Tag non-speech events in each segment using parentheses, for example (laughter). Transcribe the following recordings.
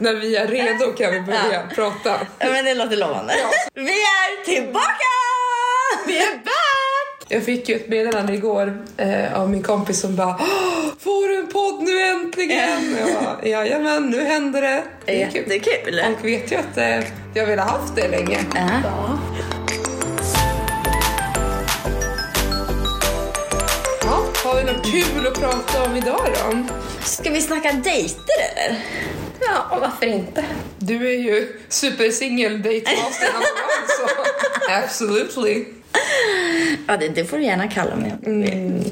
När vi är redo kan vi börja prata. Ja, Men det låter lovande. Vi är tillbaka! Vi är back! Jag fick ju ett meddelande igår eh, av min kompis som bara "Åh, Får du en podd nu äntligen? Jag bara, Jajamän, nu händer det. Det är kul. Jättekul. Och vet ju att eh, jag ville haft det länge. Ja. Ja, har vi något kul att prata om idag då? Ska vi snacka dejter eller? Ja, varför inte? Du är ju supersingel dejtmaster så absolutely. Ja, det, det får du gärna kalla mig. Mm.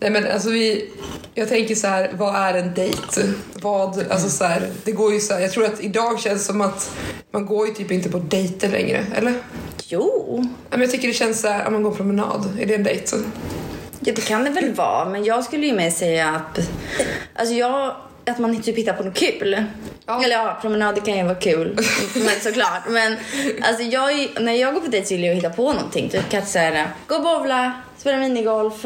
Nej men alltså vi, jag tänker så här, vad är en dejt? Vad, alltså så här, det går ju så här, jag tror att idag känns som att man går ju typ inte på dejter längre, eller? Ja, Jo, Men jag tycker det känns så här, om man går en promenad, är det en dejt? ja, det kan det väl vara. Men jag skulle ju mer säga att, alltså jag, att man typ hittar på något kul. Ja. Eller ja, promenader kan ju vara kul. men såklart. Men alltså jag, är ju- när jag går på dejt så gillar jag att hitta på någonting. Typ kanske såhär, gå och bowla, spela minigolf,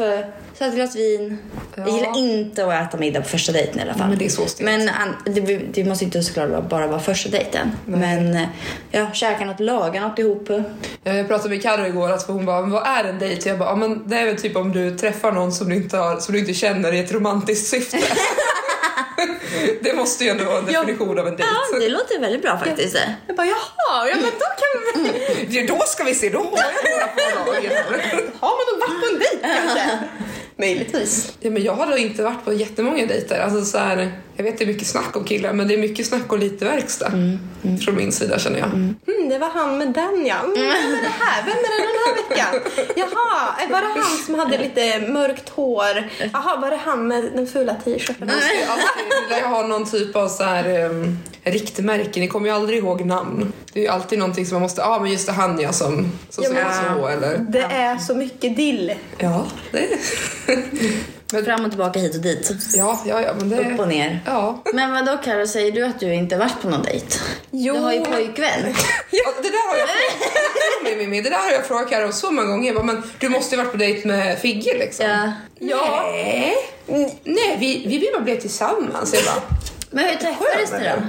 ta ett glas vin. Jag gillar inte att äta middag på första dejten i alla fall. Men det är så stelt. Men an- det, det måste inte såklart vara- bara vara första dejten. Men eh, ja, käka något, laga något ihop. Ja, Jag pratade med Carro igår att hon bara, "Men vad är en dejt? Jag bara, ja, men det är väl typ om du träffar någon som du inte, har, som du inte känner i ett romantiskt syfte. (laughs) det måste ju ändå vara en Ja. definition av en dejt. Ja, det låter väldigt bra faktiskt. Jag bara jaha, ja, men då kan vi... Ja, då ska vi se, då har jag några på lager. Mm. Har man någon varit på en dejt kanske? (laughs) Möjligtvis. Ja, men jag har då inte varit på jättemånga dejter. Alltså, så här, jag vet det är mycket snack om killar men det är mycket snack och lite verkstad. Från min sida känner jag. Mm, det var han med den ja. Mm, vem är det här? Vem är det den här veckan? Jaha, eh, var det han som hade lite mörkt hår? Jaha, var det han med den fula t-shirten? Jag skulle alltid vilja ha någon typ av så här, um, riktmärke. Ni kommer ju aldrig ihåg namn. Det är ju alltid någonting som man måste, ja ah, men just det han jag som, som Ja, såg men- så eller. Det är så mycket dill. Ja, det Fram och tillbaka, hit och dit. (laughs) ja, ja, ja, men det... Upp och ner. Ja. Men vadå Carro, säger du att du inte varit på någon dejt? Jo. Du har ju (laughs) pojkvän. Ja, det där har jag frågat Mimmi, Mimmi, det där har jag frågat Karo så många gånger. Jag bara, men du måste ju varit på dejt med Figge liksom. Ja. Ja. Nej, nej vi, vi bara blev tillsammans. Jag bara, Men hur träffades ni då?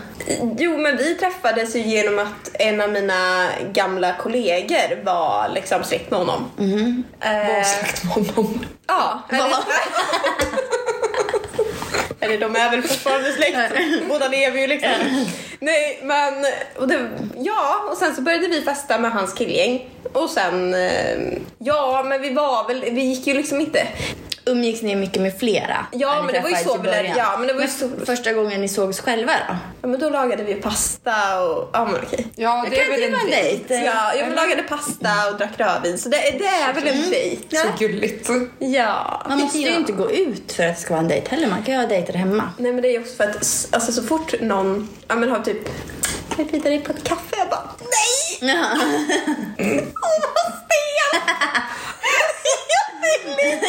Jo, men vi träffades ju genom att en av mina gamla kollegor var liksom släkt med honom. Eh, Vad sagt med honom? Ja. Eller, (laughs) eller de är väl fortfarande släkt. Båda lever ju liksom. Nej men, och det, ja och sen så började vi festa med hans killgäng. Och sen, eh, ja men vi var väl, vi gick ju liksom inte. Umgicks ni mycket med flera? Ja, när ni men det var ju träffades så i vi lärde- början? ja, men det var ju så- Första gången ni sågs själva då? Ja, men då lagade vi pasta och, ja men okej. Ja, det kan är väl inte en vara en dejt. dejt. Ja, jag lagade pasta och drack rödvin så det, det är väl en dejt. Så gulligt. Ja. Man måste ju Ja. inte gå ut för att det ska vara en dejt heller. Man kan ju ha dejter hemma. Nej men det är också för att s- alltså, så fort någon ja, men har typ Ska vi bjuda dig på ett kaffe? Jag bara nej! Åh vad stelt! jag vill inte!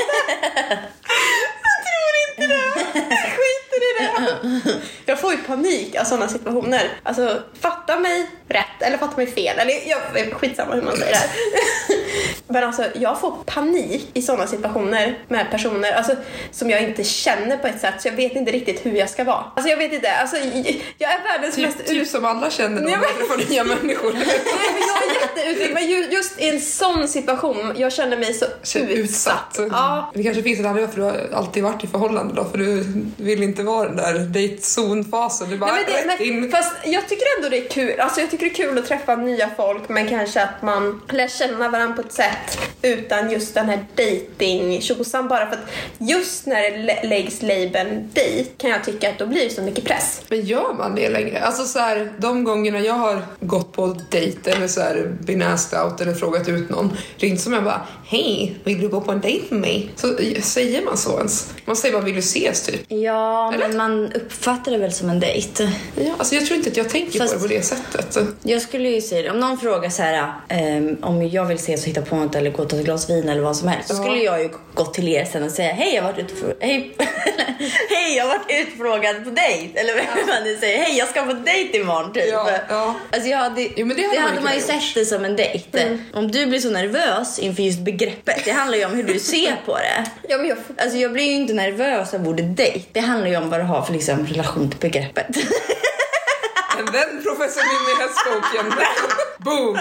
Jag tror inte det! Jag skiter i det! Jag får ju panik av sådana situationer. Alltså fatta mig rätt eller fatta mig fel. Eller jag, skitsamma hur man säger det här. Men alltså jag får panik i sådana situationer med personer alltså, som jag inte känner på ett sätt så jag vet inte riktigt hur jag ska vara. Alltså jag vet inte, alltså, jag är världens mest Typ, typ som alla känner då Ja, när men- man träffar nya (laughs) människor. Nej, men jag är jätteutrygg, men ju- just i en sån situation, jag känner mig så Känner utsatt. Ja. Det kanske finns en anledning varför du har alltid varit i förhållande då, för du vill inte vara den där dejtzonfasen. Du bara Nej, men rätt det, men, in. fast jag tycker ändå det är kul. Alltså jag tycker det är kul att träffa nya folk men kanske att man lär känna varandra på ett sätt utan just den här dating tjosan bara för att just när det lä- läggs labeln dejt kan jag tycka att då blir det så mycket press. Men gör man det längre? Alltså så här, de gångerna jag har gått på dejt eller så här been asked out eller frågat ut någon, ringt som jag bara hej, vill du gå på en dejt med mig? Så eh, säger man så ens? Man säger bara vill du ses typ? (laughs) Ja, men man uppfattar det väl som en dejt. Ja, alltså jag tror inte att jag tänker Fast- på det på det sättet. Jag skulle ju säga det. Om någon frågar så här, ehm, om jag vill ses och hitta på något eller gå och ta ett glas vin eller vad som helst. Så Ja. skulle jag ju gå till er sen och säga hej jag har varit, utfrå- hej. (laughs) hej, jag har varit utfrågad på dejt. Eller vad man nu säger. Hej jag ska på dejt imorgon typ. Ja, ja. Alltså jag hade, Jo, men det hade det man hade ju man ju kunnat Mm. sett det som en dejt. Om du blir så nervös inför just begreppet. Det handlar ju om hur du ser på det. Ja, men jag, Alltså jag blir ju inte nervös av ordet dejt. Det handlar ju om vad du har för liksom, relation till begreppet. En Den professor Mimmi Hästboken. Boom!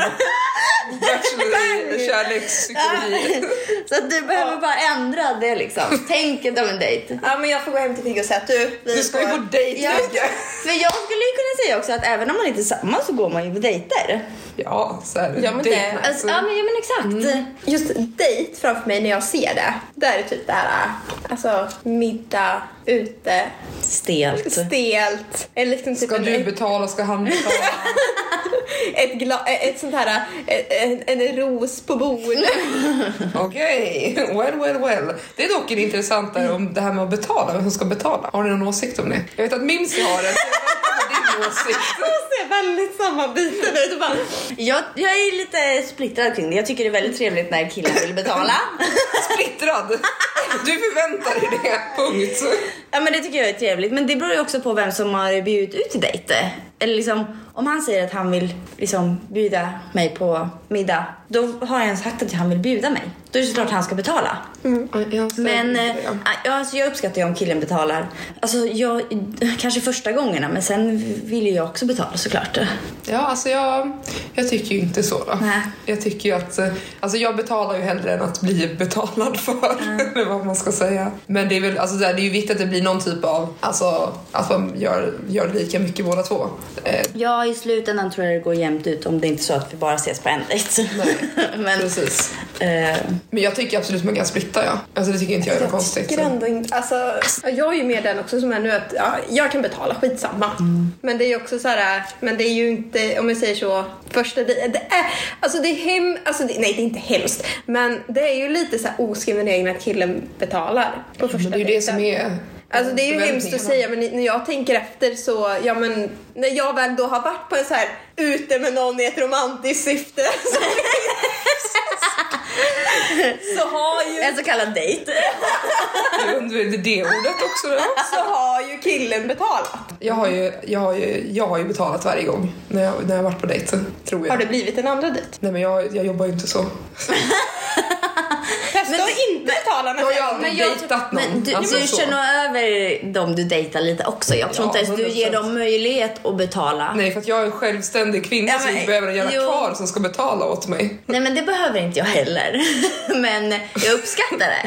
Bachelor i kärlekspsykologi. (laughs) Så att du behöver bara ändra det liksom. Tänket av en dejt. Ja, men jag får gå hem till Viggo och säga att du, vi Du ska ju får- på dejt Ja. Vigge. För jag skulle ju kunna säga också att även om man inte är samman så går man ju på dejter. Ja, så här, Ja, men dejt det- night. Alltså, ja, men, ja men exakt. Just dejt framför mig när jag ser det, det är typ det här alltså middag ute, Stelt. stelt, eller liksom typ Ska en, du betala, ska han betala? ett, gla, ett sånt här, en, en, en ros på bordet. Okej, (laughs) well well well. Det är dock en intressantare om det här med att betala, vem som ska betala. Har ni någon åsikt om det? Jag vet att Mimsi har en, så jag väntar på din åsikt. ser väldigt sammanbiten ut och bara Jag, jag är lite splittrad kring det. Jag tycker det är väldigt trevligt när killen vill betala. Splittrad! Du förväntar dig det, punkt. ja men det tycker jag är trevligt. Men det beror ju också på vem som har bjudit ut till dejt. Eller liksom om han säger att han vill liksom bjuda mig på middag. Då har jag ens sagt att han vill bjuda mig. Då är det såklart han ska betala. Jag ser Men det. eh, ja, alltså jag uppskattar ju om killen betalar. Alltså jag, kanske första gångerna men sen vill ju jag också betala såklart. Ja, alltså jag, jag tycker ju inte så då. Nej. Jag tycker ju att, eh, alltså jag betalar ju hellre än att bli betalad för, (laughs) eller vad man ska säga. Men det är väl, alltså det är ju viktigt att det blir någon typ av, alltså att man gör, gör lika mycket båda två. Eh, Ja i slutändan tror jag det går jämnt ut om det inte är så att vi bara ses på en dejt. (laughs) men, precis. eh, Men jag tycker absolut man kan splitta ja. Alltså det tycker inte jag är konstigt. tycker ändå inte, alltså jag är ju mer den också som är nu att ja, jag kan betala, skitsamma. Mm. Men det är ju också så här, men det är ju inte, om jag säger så, första dejten, det är, alltså det är hem, alltså det, nej det är inte hemskt, men det är ju lite så här oskriven regel att killen betalar på första Men det är ju det som är Alltså det är ju hemskt att förväntningarna. säga men när jag tänker efter så, ja men när jag väl då har varit på en så här ute med någon i ett romantiskt syfte (laughs) så, så har ju en så kallad dejt. Jag undrar, det är det ordet också då? så har ju killen betalat. Jag har ju, jag har ju, jag har ju betalat varje gång när jag, när jag har varit på dejt, tror jag. Har det blivit en andra dejt? Nej men jag, jag jobbar ju inte så. Testa Men- att inte betala Jag har när ju aldrig dejtat någon. men du, alltså, du så. känner nog över dem du dejtar lite också. Jag tror Ja, inte ens du ger 100%. dem möjlighet att betala. Nej. Nej, för att jag är en självständig kvinna Ja, så men- jag behöver en jävla jo. karl som ska betala åt mig. men det behöver inte jag heller. (laughs) men jag uppskattar (laughs)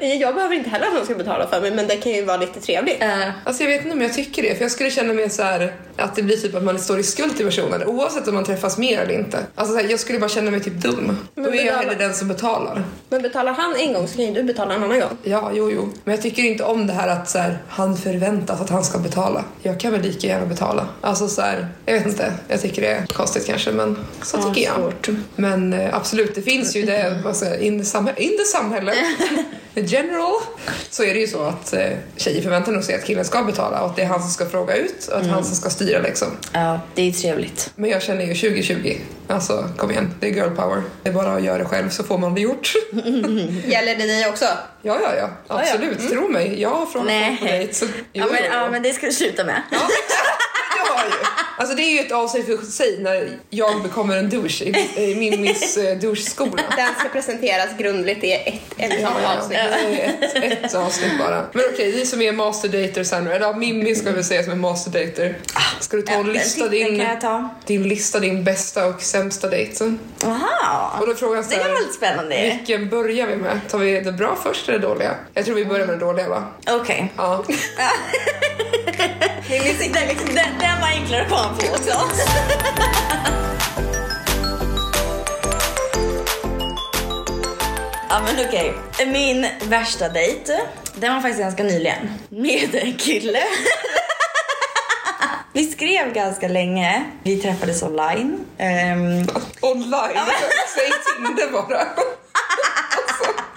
det. Jag behöver inte heller att någon ska betala för mig men det kan ju vara lite trevligt. Eh, Alltså jag vet inte om jag tycker det, för jag skulle känna mer så här att det blir typ att man står i skuld till personen oavsett om man träffas mer eller inte. Alltså så här, jag skulle bara känna mig typ dum. Då är jag betala. hellre den som betalar. Men betalar han en gång så kan ju du betala en annan gång. Ja, jo, jo. Men jag tycker inte om det här att så här, han förväntas att han ska betala. Jag kan väl lika gärna betala. Alltså så här, jag vet inte. Jag tycker det är konstigt kanske, men så Ja, tycker jag. svårt. Men eh, absolut, det finns ju det vad säger jag, in, the samhälle, in the (laughs) samhälle, the general, så är det ju så att eh, tjejer förväntar nog sig att killen ska betala och att det är han som ska fråga ut och att Mm. han som ska styra liksom. ja, det är ju trevligt. Men jag känner ju 2020, alltså kom igen, det är girl power. Det är bara att göra det själv så får man det gjort. (laughs) Gäller det dig också? Ja, ja, ja. Absolut. Tro mig. Jag har frågat Mm. Nej. folk på dejt. så- Ja Jo, men, jo, ja, jo. men det ska du sluta med. Ja, (laughs) exakt. Det har jag ju. Alltså det är ju ett avsnitt för sig när jag bekommer en douche i, i min Miss eh, Douche-skola. Den ska presenteras grundligt i ett eller Ja, samma ja, avsnitt. det är ett, ett avsnitt bara. Men okej, ni som är masterdater sen då, eller ja, Mimmi ska vi säga som är masterdater. Ska du ta och Ah, Ja, lista den din, kan jag ta. din lista din bästa och sämsta dejt? Aha. Och Mm. då frågar jag så Det kan här, vara lite spännande. vilken börjar vi med? Tar vi det bra först eller det dåliga? Jag tror vi börjar med det dåliga va? Okej. Ja. Den, liksom den, den var enklare att komma på också. (laughs) Ja men okej. Min värsta dejt, den var faktiskt ganska nyligen. Med en kille. (laughs) Vi skrev ganska länge. Vi träffades online. Ehm, Online! (laughs) Säg Tinder (laughs) bara.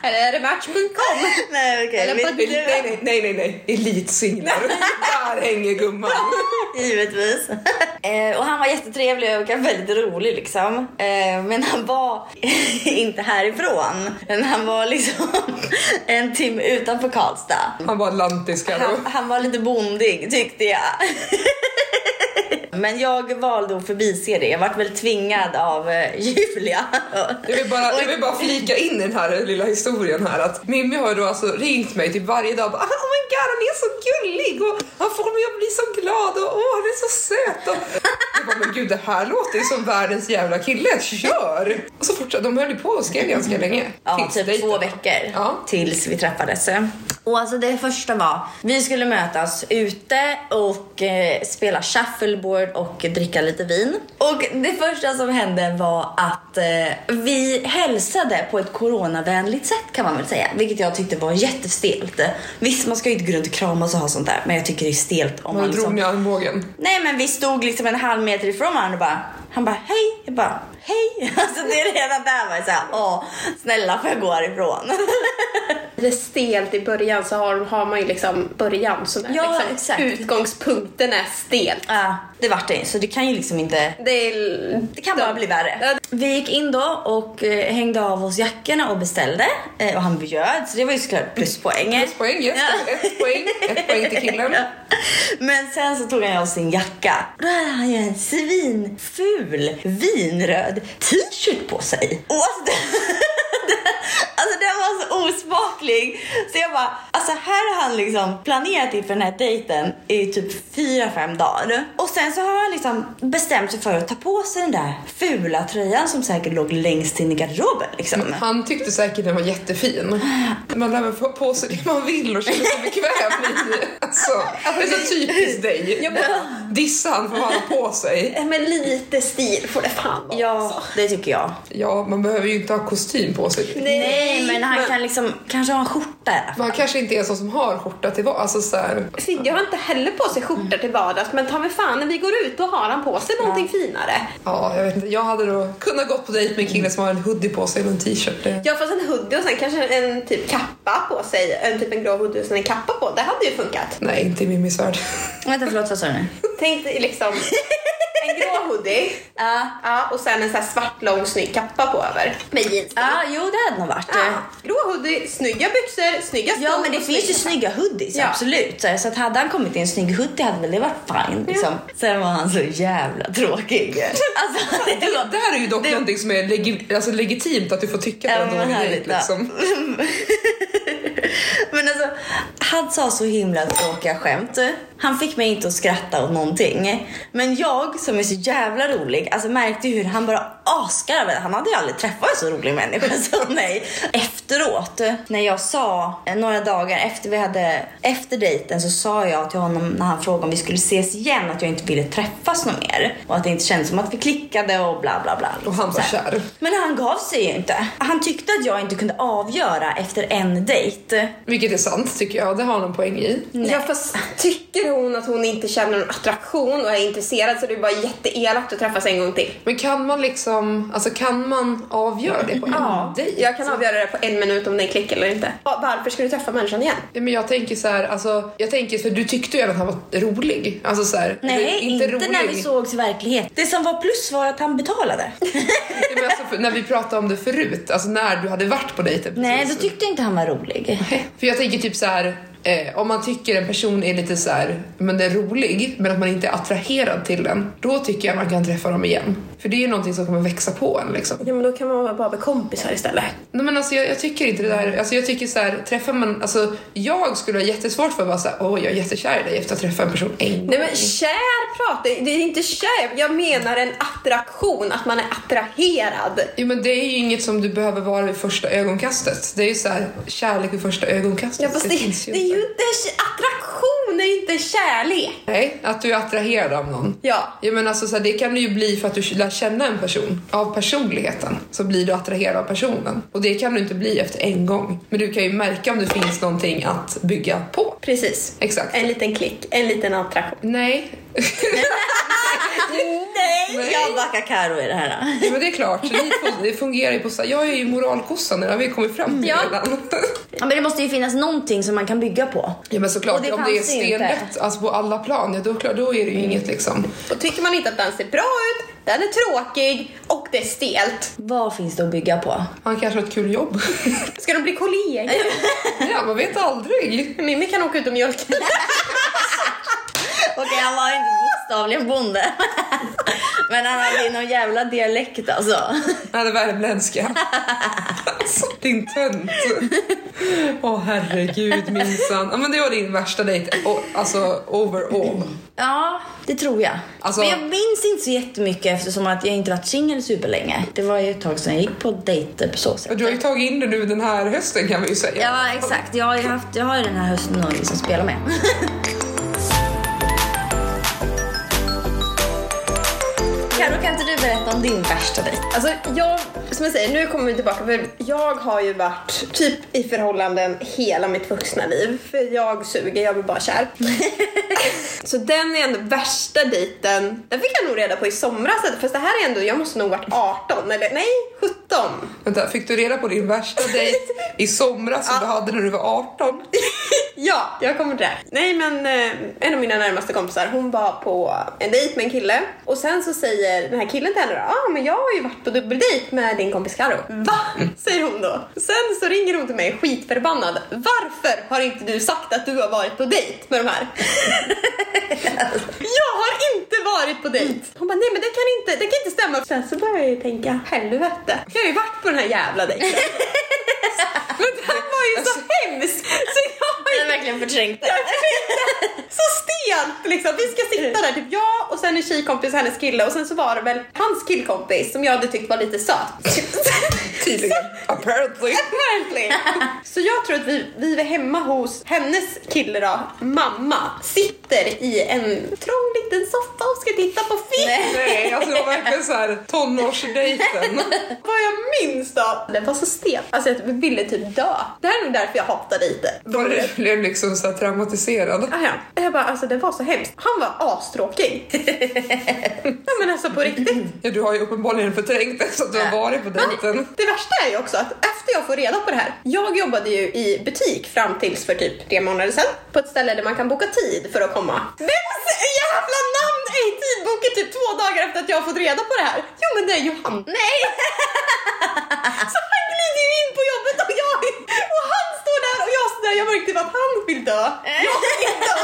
Eller är det match.com? nej okej. Eller vi- på Nej, nej, nej, nej, nej. Elitsinglar. (laughs) Där hänger gumman. (laughs) Givetvis. Eh, och han var jättetrevlig och väldigt rolig liksom. Eh, men han var (laughs) inte härifrån. Men han var liksom (laughs) en timme utanför Karlstad. Han var atlantisk här då. Han, han var lite bondig tyckte jag. (laughs) Men jag valde att förbise det. Jag vart väl tvingad av eh, Julia. (laughs) Jag vill, bara, jag vill bara flika in i den här lilla historien här att Mimmi har ju då alltså ringt mig typ varje dag och bara, oh my god han är så gullig och han får mig att bli så glad och åh han är så söt och (laughs) jag bara men gud det här låter ju som världens jävla kille, kör! Och så fortsatte de höll ju på och skrev ganska länge. Ja, Tills typ dejten. två veckor Ja. tills vi träffades. Och alltså det första var, vi skulle mötas ute och eh, spela shuffleboard och dricka lite vin. Och det första som hände var att eh, vi hälsade på ett coronavänligt sätt kan man väl säga. Vilket jag tyckte var jättestelt. Visst man ska ju inte gå runt och kramas och ha sånt där men jag tycker det är stelt om man, Man drog liksom ner armbågen. Nej men vi stod liksom en halv meter ifrån varandra och bara, han bara hej, jag bara hej. (laughs) Alltså det är redan där var jag såhär, åh snälla får jag gå härifrån? (laughs) Det är stelt i början så har, har man ju liksom början som är Ja, liksom exakt. utgångspunkten är stelt. Ja, det vart det så det kan ju liksom inte Det, är, Det kan bara bli värre. Vi gick in då och eh, hängde av oss jackorna och beställde eh, och han bjöd så det var ju såklart pluspoäng. Poäng, yes, Ja. ett poäng, ett poäng till killen. Men sen så tog han av sin jacka. Då hade han ju en svinful vinröd t-shirt på sig. Och alltså, (laughs) det, alltså den var så osmaklig. Så jag bara, alltså här har han liksom planerat inför den här dejten i typ fyra fem dagar. Och sen så har han liksom bestämt sig för att ta på sig den där fula tröjan som säkert låg längst in i garderoben liksom. Han tyckte säkert den var jättefin. Man lär väl få på sig det man vill och känner sig bekväm i. Alltså, det är så typiskt dig. Jag bara, dissa han för vad han har på sig. men lite stil får det fan vara. Ja, det tycker jag. Ja, man behöver ju inte ha kostym på sig. Nej, men han kan liksom kanske ha en skorta i alla fall. Man kanske inte är en sån som har skjorta till vad. Alltså så här, Så Jag har inte heller på sig skjorta till vardags men ta mig fan när vi går ut då har han på sig någonting finare. ja, jag vet inte. Jag hade då kunnat gått på dejt med en kille som har en hoodie på sig och en t-shirt. Det- Jag har fått en hoodie och sen kanske en typ kappa på sig. En typ en grå hoodie och sen en kappa på. Det hade ju funkat. Nej, inte i Mimmis värld. Vänta, förlåt, vad sa du nu? Tänk dig liksom en grå hoodie Ja, ja, och sen en sån här svart lång snygg kappa på över. Med jeans. ja, jo det hade nog varit. Ah, Ja. Grå hoodie, snygga byxor, snygga skor. Ja men det och finns ju snygga- snygga hoodies, Ja. absolut. Så här, Så att hade han kommit i en snygg hoodie hade väl det varit fine. Liksom. Sen var han så jävla tråkig. (laughs) Alltså, det var... Det här är ju dock någonting som är legi- alltså legitimt att du får tycka på Ja, en men dålig härligt, dejt. ja. Liksom. Men alltså, han sa så himla tråkiga skämt. Han fick mig inte att skratta åt någonting. Men jag som är så jävla rolig, alltså märkte ju hur han bara asgarvade. Han hade ju aldrig träffat en så rolig människa (laughs) som mig. Efteråt, när jag sa, eh, några dagar efter vi hade, efter dejten så sa jag till honom när han frågade om vi skulle ses igen att jag inte ville träffas någon mer. Och att det inte kändes som att vi klickade och bla bla bla. Och han var kär. Men han gav sig ju inte. Han tyckte att jag inte kunde avgöra efter en dejt. Vilket är sant tycker jag. Det har han en poäng i. Ja fast tycker hon att hon inte känner någon attraktion och är intresserad så det är bara jätteelakt att träffas en gång till. Men kan man liksom, alltså kan man avgöra det på en Ja, dejt? jag kan avgöra det på en minut om det är klick eller inte. Ja, Varför ska du träffa människan igen? Nej, Men jag tänker så här, alltså, jag tänker för du tyckte ju även att han var rolig. Alltså så här, Nej, det- inte, när vi sågs i verkligheten. Det som var plus var att han betalade. Nej, men alltså, för, när vi pratade om det förut, alltså när du hade varit på dejten. Nej, då precis. tyckte jag inte han var rolig. För jag tänker typ så här. Eh, om man tycker en person är lite så här, men den är rolig, men att man inte är attraherad till den, då tycker jag man kan träffa dem igen. För det är ju någonting som kommer växa på en liksom. Ja men då kan man bara bli kompisar istället. Nej men alltså jag, jag tycker inte det där, alltså jag tycker så här, träffar man, alltså jag skulle ha jättesvårt för att bara såhär, åh jag är jättekär i dig efter att träffa en person en gång. Nej men kär pratar det är inte kär, jag menar en attraktion, att man är attraherad. Jo men det är ju inget som du behöver vara vid första ögonkastet. Det är ju så här, kärlek vid första ögonkastet. Ja fast det, det, är ju inte, attraktion är ju inte kärlek. Nej, att du är attraherad av någon. Ja. Ja men alltså så här, det kan det ju bli för att du lär känna en person. Av personligheten så blir du attraherad av personen. Och det kan du inte bli efter en gång. Men du kan ju märka om det finns någonting att bygga på. Precis. Exakt. En liten klick, en liten attraktion. Nej, Nej, (laughs) jag backar Karo i det här. Ja, men det är klart, ni två, det fungerar ju på så Jag är ju moralkossan, det har vi kommit fram till Ja. redan. Ja, men det måste ju finnas någonting som man kan bygga på. Ja men såklart, Och det om det är fanns ju inte. Mm. stenrätt alltså på alla plan, ja, då, klart, då är det ju inget liksom. Och tycker man inte att den ser bra ut, den är tråkig och det är stelt. Vad finns det att bygga på? Han kanske har ett kul jobb. (laughs) Ska de bli kollegor? ja, man vet aldrig. Mimmi kan åka ut och mjölka. Okej, han var inte bokstavligen bonde. (laughs) Men han hade någon jävla dialekt alltså. Han hade värmländska. Alltså, din tönt. Åh herregud minsann. Ja, men det var din värsta dejt, o- alltså overall. Ja, det tror jag. Alltså- Men jag minns inte så jättemycket eftersom att jag inte varit singel superlänge. Det var ju ett tag sedan jag gick på dejter på så sätt. Och Du har ju tagit in det nu den här hösten kan vi ju säga. Ja, exakt. Jag har ju, haft, jag har ju den här hösten att liksom spela med. Karo, kan inte du berätta om din värsta dejt? Alltså jag, som jag säger, nu kommer vi tillbaka för jag har ju varit typ i förhållanden hela mitt vuxna liv. För jag suger, jag blir bara kär. (laughs) så den är ändå värsta dejten. Den fick jag nog reda på i somras, fast det här är ändå, jag måste nog varit 18 eller nej 17. Vänta, fick du reda på din värsta dejt i somras som du hade när du var 18? Ja, jag kommer till det. Nej men eh, en av mina närmaste kompisar hon var på en dejt med en kille och sen så säger den här killen till henne då, ah, men jag har ju varit på dubbeldejt med din kompis Karo. Va? Säger hon då. Sen så ringer hon till mig skitförbannad. Varför har inte du sagt att du har varit på dejt med de här? jag har inte varit på dejt! Hon bara, nej men det kan inte, det kan inte stämma. Sen så börjar jag ju tänka, helvete. Jag har ju varit på den här (laughs) jävla dejten. men det här var ju så hemskt! Så jag har ju Jag har verkligen förträngt det. så stelt liksom. Vi ska sitta där, typ jag och sen en tjejkompis och hennes kille och sen så var det väl hans killkompis som jag hade tyckt var lite söt. Typ. Tydligen. (laughs) Apparently. Apparently. Så jag tror att vi, vi var hemma hos hennes kille då, mamma, sitter i en trång liten soffa och ska titta på film. Nej, alltså det var verkligen såhär tonårsdejten. Vad jag minns då, det var så stelt. Alltså jag ville typ dö. Det här är nog därför jag hatar lite. Var det blev liksom så här traumatiserad. Ah, ja. Jag bara, alltså det var så hemskt. Han var (laughs) astråkig. ja men alltså på riktigt. Ja, du har ju uppenbarligen förträngt det så att du har varit på dejten. Det värsta är ju också att efter jag får reda på det här. Jag jobbade ju i butik fram tills för typ tre månader sedan på ett ställe där man kan boka tid för att komma. Vems jävla namn är i tidboken typ två dagar efter att jag har fått reda på det här? Jo men det är ju han. Nej! (laughs) Så han glider ju in på jobbet och jag och han står där och jag står där. Jag märkte typ att han vill dö. Eh. Jag vill dö.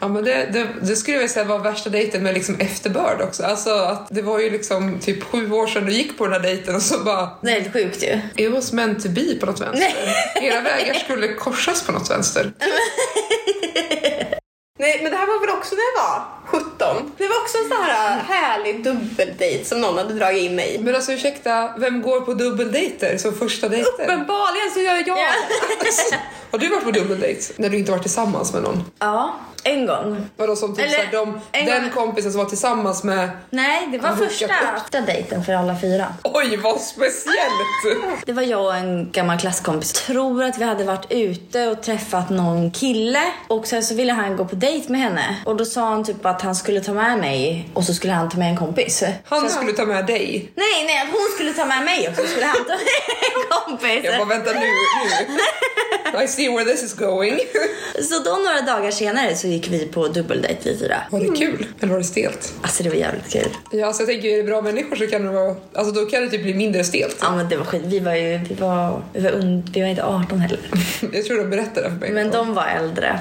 Ja, men det, det, det skulle jag vilja säga var värsta dejten med liksom efterbörd också. Alltså att det var ju liksom typ sju år sedan du gick på den här dejten och så bara Det är helt sjukt ju. It was meant to be på något vänster. Era vägar skulle korsas på något vänster. Nej, men det här var väl också när jag var 17. Det var också en sån här härlig dubbeldejt som någon hade dragit in mig i. Men alltså ursäkta, vem går på dubbeldejter som första dejter? Uppenbarligen så gör jag Ja. Har du varit på dubbeldejt? När du inte varit tillsammans med någon? Ja, en gång. Vadå som typ Eller, såhär, de, en den gång- kompisen som var tillsammans med... Nej, det var Hookat första, upp. första dejten för alla fyra. Oj vad speciellt! Det var jag och en gammal klasskompis. Tror att vi hade varit ute och träffat någon kille och sen så ville han gå på dejt med henne. Och då sa han typ att han skulle ta med mig och så skulle han ta med en kompis. Han skulle ta med dig. Nej, nej, att hon skulle ta med mig och så skulle han ta med (laughs) en kompis. Jag bara vänta nu, nu. (laughs) I see where this is going. Så då några dagar senare så gick vi på dubbeldejt vi fyra. Var det kul? Eller var det stelt? Alltså det var jävligt kul. Ja, alltså jag tänker är det bra människor så kan det vara... Alltså då kan det typ bli mindre stelt. Ja men det var skit. Vi var ju, vi var, vi var, und- vi var inte 18 heller. Jag tror de berättade för mig. Men de var äldre.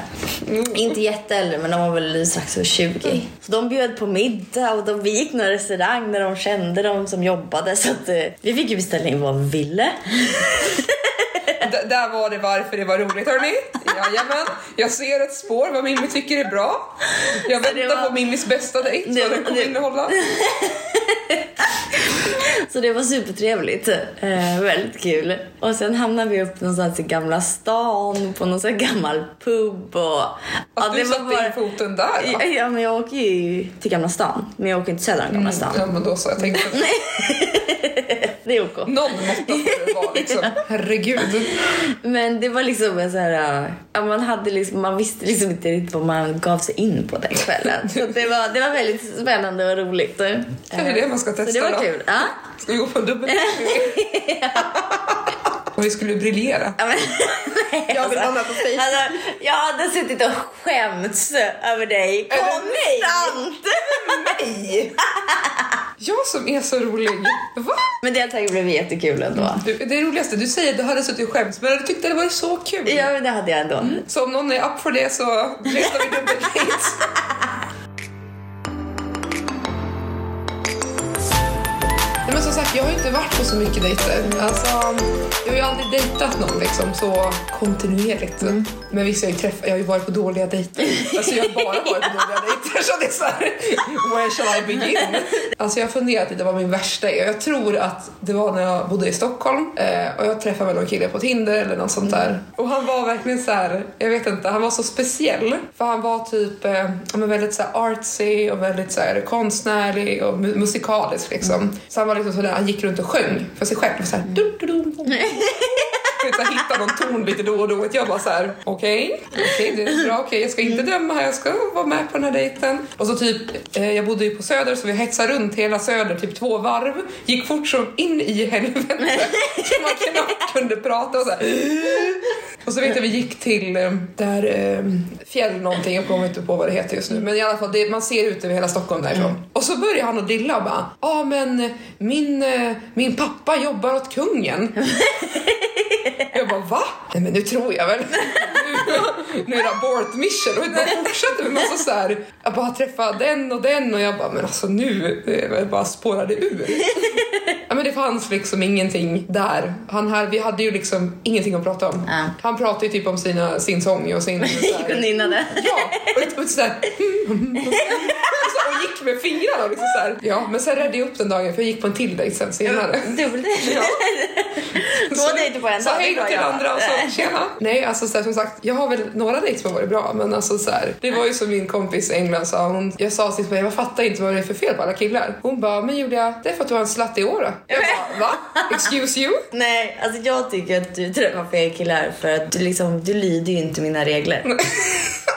Inte jätteäldre, men de var väl strax över Mm. 20. Så de bjöd på middag och de, vi gick någon restaurang när de kände de som jobbade. Så att, eh, vi fick ju beställa in vad vi ville. D- där var det varför det var roligt hörni. Jajamän. Jag ser ett spår vad Mimmi tycker är bra. Jag Så det väntar var- på Mimmis bästa dejt, Det vad den var- kommer det- innehålla. Så det var supertrevligt. Eh, väldigt kul. Och sen hamnade vi upp någonstans i Gamla stan på någon sån här gammal pub. Och, ja, Att du satte in foten där va? Ja, ja, men jag åker ju till Gamla stan. Men jag åker inte söder om Gamla stan. Ja men då så, jag tänkte att Det är OK. någon måtta får det vara liksom. Herregud. Men det var liksom en så här, äh, ja, man, hade liksom, man visste liksom inte riktigt vad man gav sig in på den kvällen. Så det var, det var väldigt spännande och roligt. Det är det man ska testa Så det var då. kul. Ja. Ska vi gå på en dubbel Och vi skulle briljera. Ja, men, Jag vill vara med på Facebook. alltså, jag hade suttit och skämts över dig Över konstant. Nej! Jag som är så rolig. Va? Men deltagarna blev jättekul ändå. Du, det roligaste, du säger att du hade suttit och skämts men du tyckte det var så kul. Ja, men det hade Mm. jag ändå. Så om någon är up för det så letar vi dubbel dejt. som sagt, jag har inte varit på så mycket dejter. Alltså, jag har ju aldrig dejtat någon liksom, så kontinuerligt. Men visst, jag har, ju träffat, jag har ju varit på dåliga dejter. Alltså, jag har bara varit på dåliga dejter. Så det är så här, where shall I begin? Alltså, jag har funderat lite vad min värsta är. Jag tror att det var när jag bodde i Stockholm eh, och jag träffade väl någon kille på Tinder eller något sånt där. Och han var verkligen så här, jag vet inte, han var så speciell. För han var typ eh, ja, men väldigt så här artsy och väldigt så här konstnärlig och mu- musikalisk liksom. Så han var liksom sådär, han gick runt och sjöng för sig själv. Så här, du, du, du, du. Vet, så här, hitta någon ton lite då och då. Vet Jag bara så här, okej, okej, det är bra, okej, jag ska inte döma här, jag ska vara med på den här dejten. Och så typ, eh, jag bodde ju på Söder så vi hetsade runt hela Söder typ två varv, gick fort som in i helvete så man knappt kunde prata och så här. Och så vet jag vi gick till eh, där eh, fjäll någonting, jag kommer inte på vad det heter just nu, men i alla fall det, man ser ut över hela Stockholm därifrån. Och så börjar han att dilla och bara, ja ah, men min, eh, min pappa jobbar åt kungen. Jag bara va? Nej men nu tror jag väl. (laughs) Nu- Nu är det abort mission och jag fortsätter med massa så här. Jag bara träffade den och den och jag bara men alltså nu eh, jag bara spårade (laughs) ur. Ja, men det fanns liksom ingenting där. Han här, vi hade ju liksom ingenting att prata om. Ja. Han pratade ju typ om sina, sin sång och (laughs) sin... så här- (laughs) Gick hon in i det? Ja, och, (laughs) och sådär... Och, så, och gick med fingrarna och liksom såhär. Ja, men sen räddade jag upp den dagen för jag gick på en till dejt sen senare. Dubbeldejt? Två dejter på en Så dag, det är hej då bra Eh. till jobbat. andra och så tjena. Nej alltså så här, som sagt, jag har väl några dejter som har varit bra men alltså så här, det var ju som min kompis i England sa, hon, jag sa sist jag fattar inte vad det är för fel på alla killar. Hon bara, men Julia det är för att du har en slatt i år. Jag bara, va? Excuse you? Nej, alltså jag tycker att du träffar fel killar för att du liksom, du lyder ju inte (laughs) mina regler.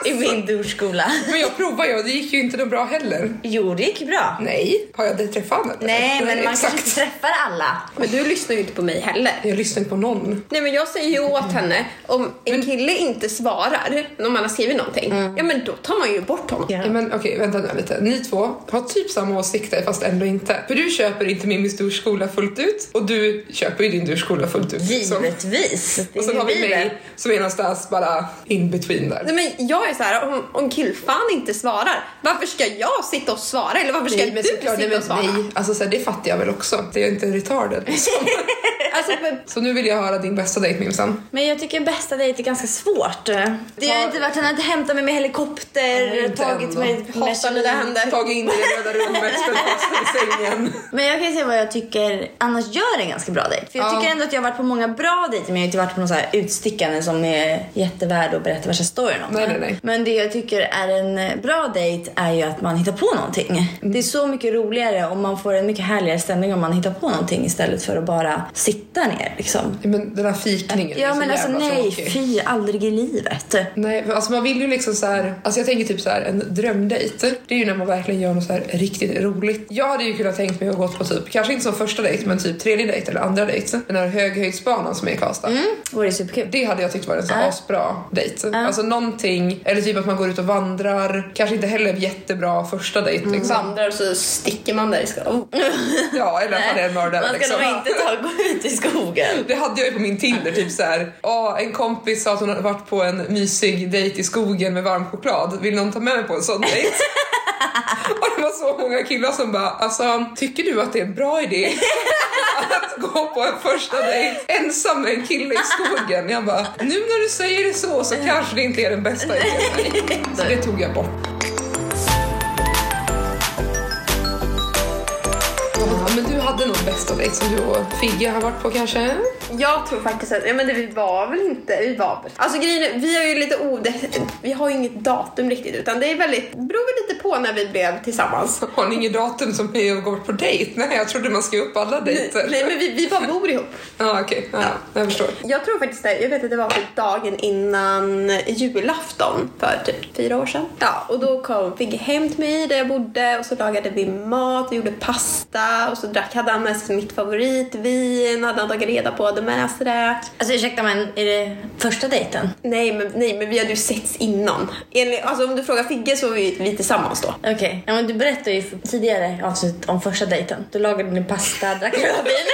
I min duschskola. Men jag provar ju och det gick ju inte något bra heller. Jo, det gick bra. Nej, har jag dejtat fan eller? Nej, men man Exakt. kanske inte träffar alla. Men du lyssnar ju inte på mig heller. Jag lyssnar inte på någon. Nej men jag säger ju åt henne, om en kille inte svarar när man har skrivit någonting, ja men då tar man ju bort honom. Ja. Men okej, vänta nu lite. Ni två har typ samma åsikter fast ändå inte. För du köper inte min durskola fullt ut och du köper ju din durskola fullt ut. Så- Givetvis. Det Och är sen ju har vi Bibeln. mig som är någonstans bara in between där. Nej men jag är så här, om, om killfan inte svarar, varför ska jag sitta och svara? Eller varför ska men du såklart, sitta och svara? nej, alltså så här, det fattar jag väl också. Det är inte retarded liksom. (laughs) Alltså, men, Så nu vill jag höra din bästa dejt Mimsan. Men jag tycker bästa dejt är ganska svårt. Det har Har- inte varit, han har inte hämtat mig med Nej, helikopter, inte tagit ändå. mig med hatar när det händer. Tag in dig i det röda (laughs) rummet, spänn fast dig i sängen. Men jag kan ju säga vad jag tycker annars gör en ganska bra dejt. För jag Ja. tycker ändå att jag har varit på många bra dejter men jag har inte varit på någon så här utstickande som är jättevärd att berätta värsta storyn om. Nej, nej, nej. Men det jag tycker är en eh, bra dejt är ju att man hittar på någonting. Mm. Det är så mycket roligare och man får en mycket härligare stämning om man hittar på någonting istället för att bara sitta ner liksom. Men den här fikningen är Ja så men alltså jävla nej, tråkig. fy aldrig i livet. Mm, Nej, men alltså man vill ju liksom så här, alltså jag tänker typ så här en drömdejt. Det är ju när man verkligen gör något så här riktigt roligt. Jag hade ju kunnat tänkt mig att gått på typ, kanske inte som första dejt, men typ tredje dejt eller andra dejt. Den här höghöjdsbanan som är i Karlstad. Det vore superkul. Det hade jag tyckt varit en så här asbra dejt. Alltså någonting, eller typ att man går ut och vandrar. Kanske inte heller jättebra första dejt Mm. liksom. (laughs) vandrar och så sticker man där i skogen. Ja, eller att man är en mördare Man ska liksom. nog inte ta och gå ut i (laughs) skogen. Det hade jag ju på min Tinder, typ så här. "Ja, en kompis sa att hon hade varit på en mysig dejt i skogen med varm choklad. Vill någon ta med mig på en sån (laughs) dejt? Och det var så många killar som bara, alltså tycker du att det är en bra (laughs) idé att gå på en första dejt ensam med en kille i skogen? Jag bara, nu när du säger det så så kanske det inte är den bästa idén. Så det tog jag bort. Ja, Men du hade någon bästa dejt som du och Figge har varit på kanske? Jag tror faktiskt att, ja men det, vi var väl inte, vi var väl. Alltså grejen är, vi har ju lite ode, vi har ju inget datum riktigt utan det är väldigt, beror väl lite på när vi blev tillsammans. Har ni inget datum som ni går på dejt? Nej, jag trodde man skrev upp alla dejter. Nej men vi, vi bara bor ihop. Ja, okej. Ja, jag (laughs) förstår. Jag tror faktiskt det. Jag vet att det var typ dagen innan julafton för typ fyra år sedan. Ja, och då kom Figge hem till mig där jag bodde och så lagade vi mat, vi gjorde pasta och så drack, hade han med sig mitt favoritvin, hade han tagit reda på, hade med sig det. Alltså ursäkta men är det första dejten? Nej men, nej, men vi hade ju setts innan. Enligt, alltså om du frågar Figge så var vi, vi tillsammans då. Okej, ja, men du berättade ju tidigare i avsnittet om första dejten. Du lagade din pasta, drack rödvin.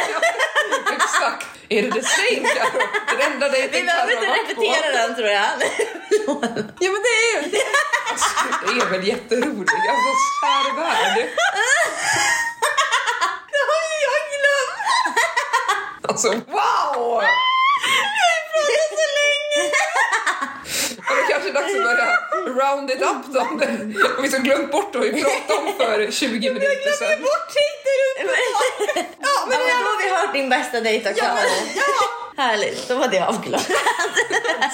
Exakt. Är det the same, Carro? Den enda dejten Vi behöver Carro inte har varit på. repetera den tror jag. Ja men det är ju det. Det är väl jätteroligt? Alltså, kära värld. Det har ju jag Alltså wow! så länge! Ja, det kanske är dags att börja round it up då. Vi har glömt bort vad vi pratade om för 20 minuter sedan. Bort hit där uppe! Ja, men då har vi hört din bästa dejt och klarat det. Härligt, då var det avklarat.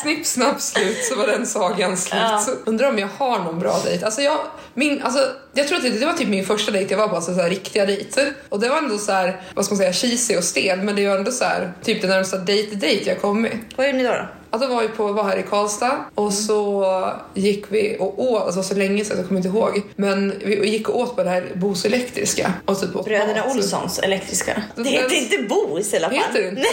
Snipp, snapp, slut så var den sagan slut. Ja. Så Undrar om jag har någon bra dejt. Alltså jag, min, alltså, jag tror att det, det var typ min första dejt, jag var bara så här riktiga dejter. Och det var ändå så här, vad ska man säga, cheesy och stel men det var ändå så här, typ den närmsta dejt-dejt jag kommit. Vad gör ni då? då? Alltså var vi på, var här i Karlstad Mm. och så gick vi och åt, alltså så länge sedan så jag kommer inte ihåg, men vi gick och åt på det här Bos elektriska och typ åt Bröderna mat. Olssons elektriska. Det- Det heter inte Bohus i alla fall. Heter det inte?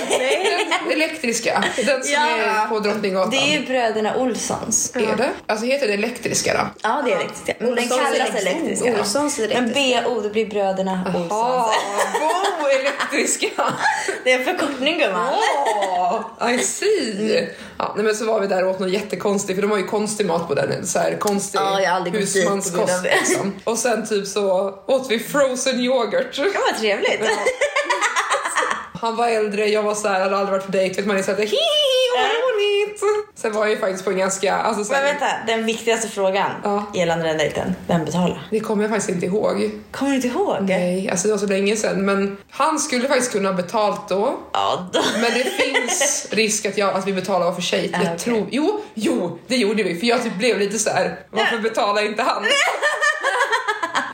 Den elektriska, den som Ja. är på Drottninggatan. Det är ju Bröderna Olssons. Är det? Alltså heter det elektriska då? Ja, det är elektriska. Men den Olssons kallas elektriska. elektriska. Olssons Men elektriska. BO, det blir Bröderna Ja, Olssons. Bo (laughs) elektriska! Det är en förkortning gumman. Oh, I see! Ja, nej, men så var vi där och åt något jättekonstigt, för de har ju konstig mat på den, så här konstig Ja, jag har aldrig gått dit på grund av husmanskost. det. Liksom. Och sen typ så åt vi frozen yoghurt. Ja, vad trevligt. Han var äldre, jag var så här, hade aldrig varit på dejt, vet man är så här, hihi, vad roligt! Sen var jag ju faktiskt på en ganska, alltså så Men här, vänta, den viktigaste frågan Ja. gällande den dejten. Vem betalar? det kommer jag faktiskt inte ihåg. Kommer du inte ihåg? Nej, alltså det var så länge sedan, men han skulle faktiskt kunna ha betalt då. Ja, då. (laughs) Men det finns risk att, jag, att vi betalar var för sig. Ah, jag okej. tror, jo, jo, det gjorde vi. För jag typ blev lite så här. varför betalar inte (laughs) han?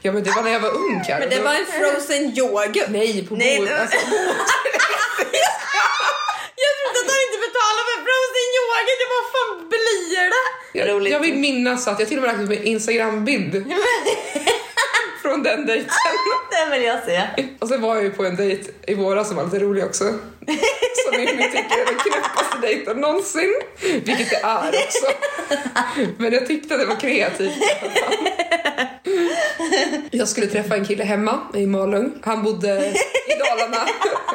ja men det var när jag var ung Karo. Men det var en frozen yoghurt. Nej, på Nej, bo, det var- alltså, Jag trodde att han inte betalade för frozen yoghurt. Det var fan blir det? jag, Roligt. jag vill minnas att jag till och med lagt upp en Instagram-bild (laughs) från den dejten. Den vill jag se. (laughs) Och sen var jag ju på en dejt i våras som var lite rolig också. Som Mimmi tycker är den knäppaste dejten någonsin. Vilket det är också. Men jag tyckte det var kreativt. Jag skulle träffa en kille hemma i Malung. Han bodde i Dalarna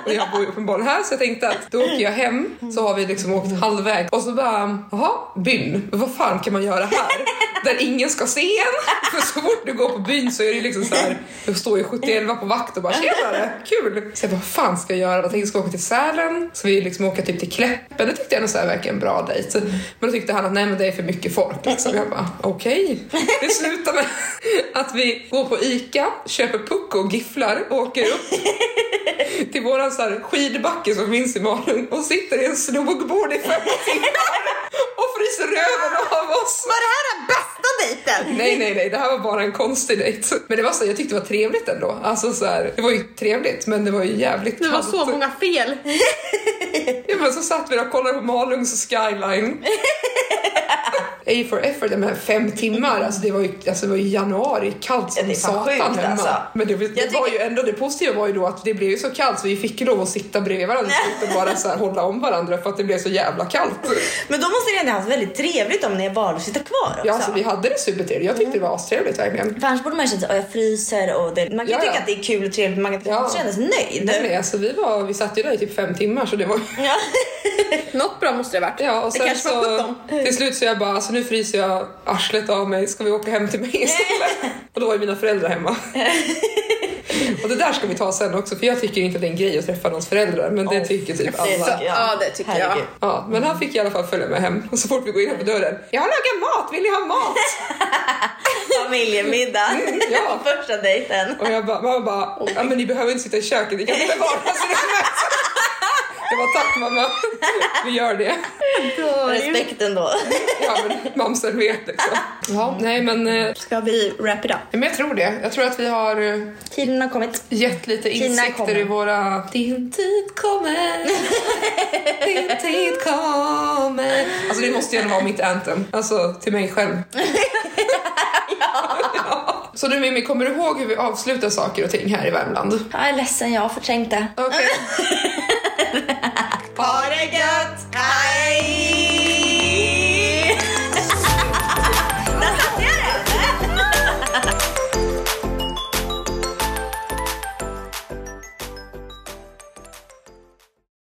och jag bor ju uppenbarligen här så jag tänkte att då åker jag hem så har vi liksom åkt halvväg och så bara, jaha, byn, vad fan kan man göra här? Där ingen ska se en. För så fort du går på byn så är det ju liksom så här, då står ju 71 på vakt och bara tjenare, kul. Så jag bara, vad fan ska jag göra? Jag tänkte jag ska åka till Sälen, så vi liksom åka typ till Kläppen. Det tyckte jag nog så här verkar en bra dejt. Men då tyckte han att nej men det är för mycket folk liksom. Jag bara, okej. Det slutar med att vi går på ICA, köper pucko och gifflar och åker upp till våran så här skidbacke som finns i Malung och sitter i en snowboard i fem timmar och fryser röven av oss. Var det här den bästa dejten? Nej, nej, nej, det här var bara en konstig dejt. Men det var så, jag tyckte det var trevligt ändå. Alltså så här, det var ju trevligt, men det var ju jävligt Det var så kallt. många fel. Ja, men så satt vi där och kollade på Malungs skyline. A for effort, men fem timmar, alltså det var ju, alltså det var ju januari, kallt Ja, som det är fan satan sjukt, hemma. alltså. Men det, det tycker- var ju ändå, det positiva var ju då att det blev ju så kallt så vi fick lov att sitta bredvid varandra och bara så här hålla om varandra för att det blev så jävla kallt. Men då måste ni ändå ha haft väldigt trevligt om ni valde att sitta kvar också. Ja, alltså vi hade det supertrevligt, jag tyckte det var astrevligt verkligen. För annars borde man ju känna såhär, "Åh, jag fryser och det... Man kan ju Ja, tycka ja. att det är kul och trevligt men man kan Ja. inte känna sig nöjd. Nej, nej, alltså vi, var, vi satt ju där i typ fem timmar så det var (laughs) Ja. Något bra måste det ha varit. Ja, och Det sen kanske var så, sjutton. till slut så jag bara, alltså nu fryser jag arslet av mig, ska vi åka hem till mig istället? (laughs) Och då var ju mina föräldrar hemma. Och det där ska vi ta sen också, för jag tycker inte det är en grej att träffa någons föräldrar, men det Oh, tycker typ det alla. tycker jag. Ja, det tycker jag. Herregud. Ja, men han fick i alla fall följa med hem och så fort vi går in på dörren, jag har lagat mat, vill ni ha mat? Familjemiddag Mm, ja. på (laughs) första dejten. Och jag bara, mamma bara, ja men ni behöver inte sitta i köket, ni kan sitta i vardagsrummet. Jag bara, tack mamma, vi gör det. Respekt ändå. Ja men mamsen vet liksom. Ja, nej men, eh, Ska vi wrap it up? men jag tror det. Jag tror att vi har eh, Tiden har kommit. gett lite Tina insikter kommer. i våra... Din tid kommer, din tid kommer. Alltså det måste ju ändå vara mitt anthem. Alltså till mig själv. ja. Så du Mimmi, kommer du ihåg hur vi avslutar saker och ting här i Värmland? Jag är ledsen, jag har förträngt det. Okej. Ha det gött! (laughs)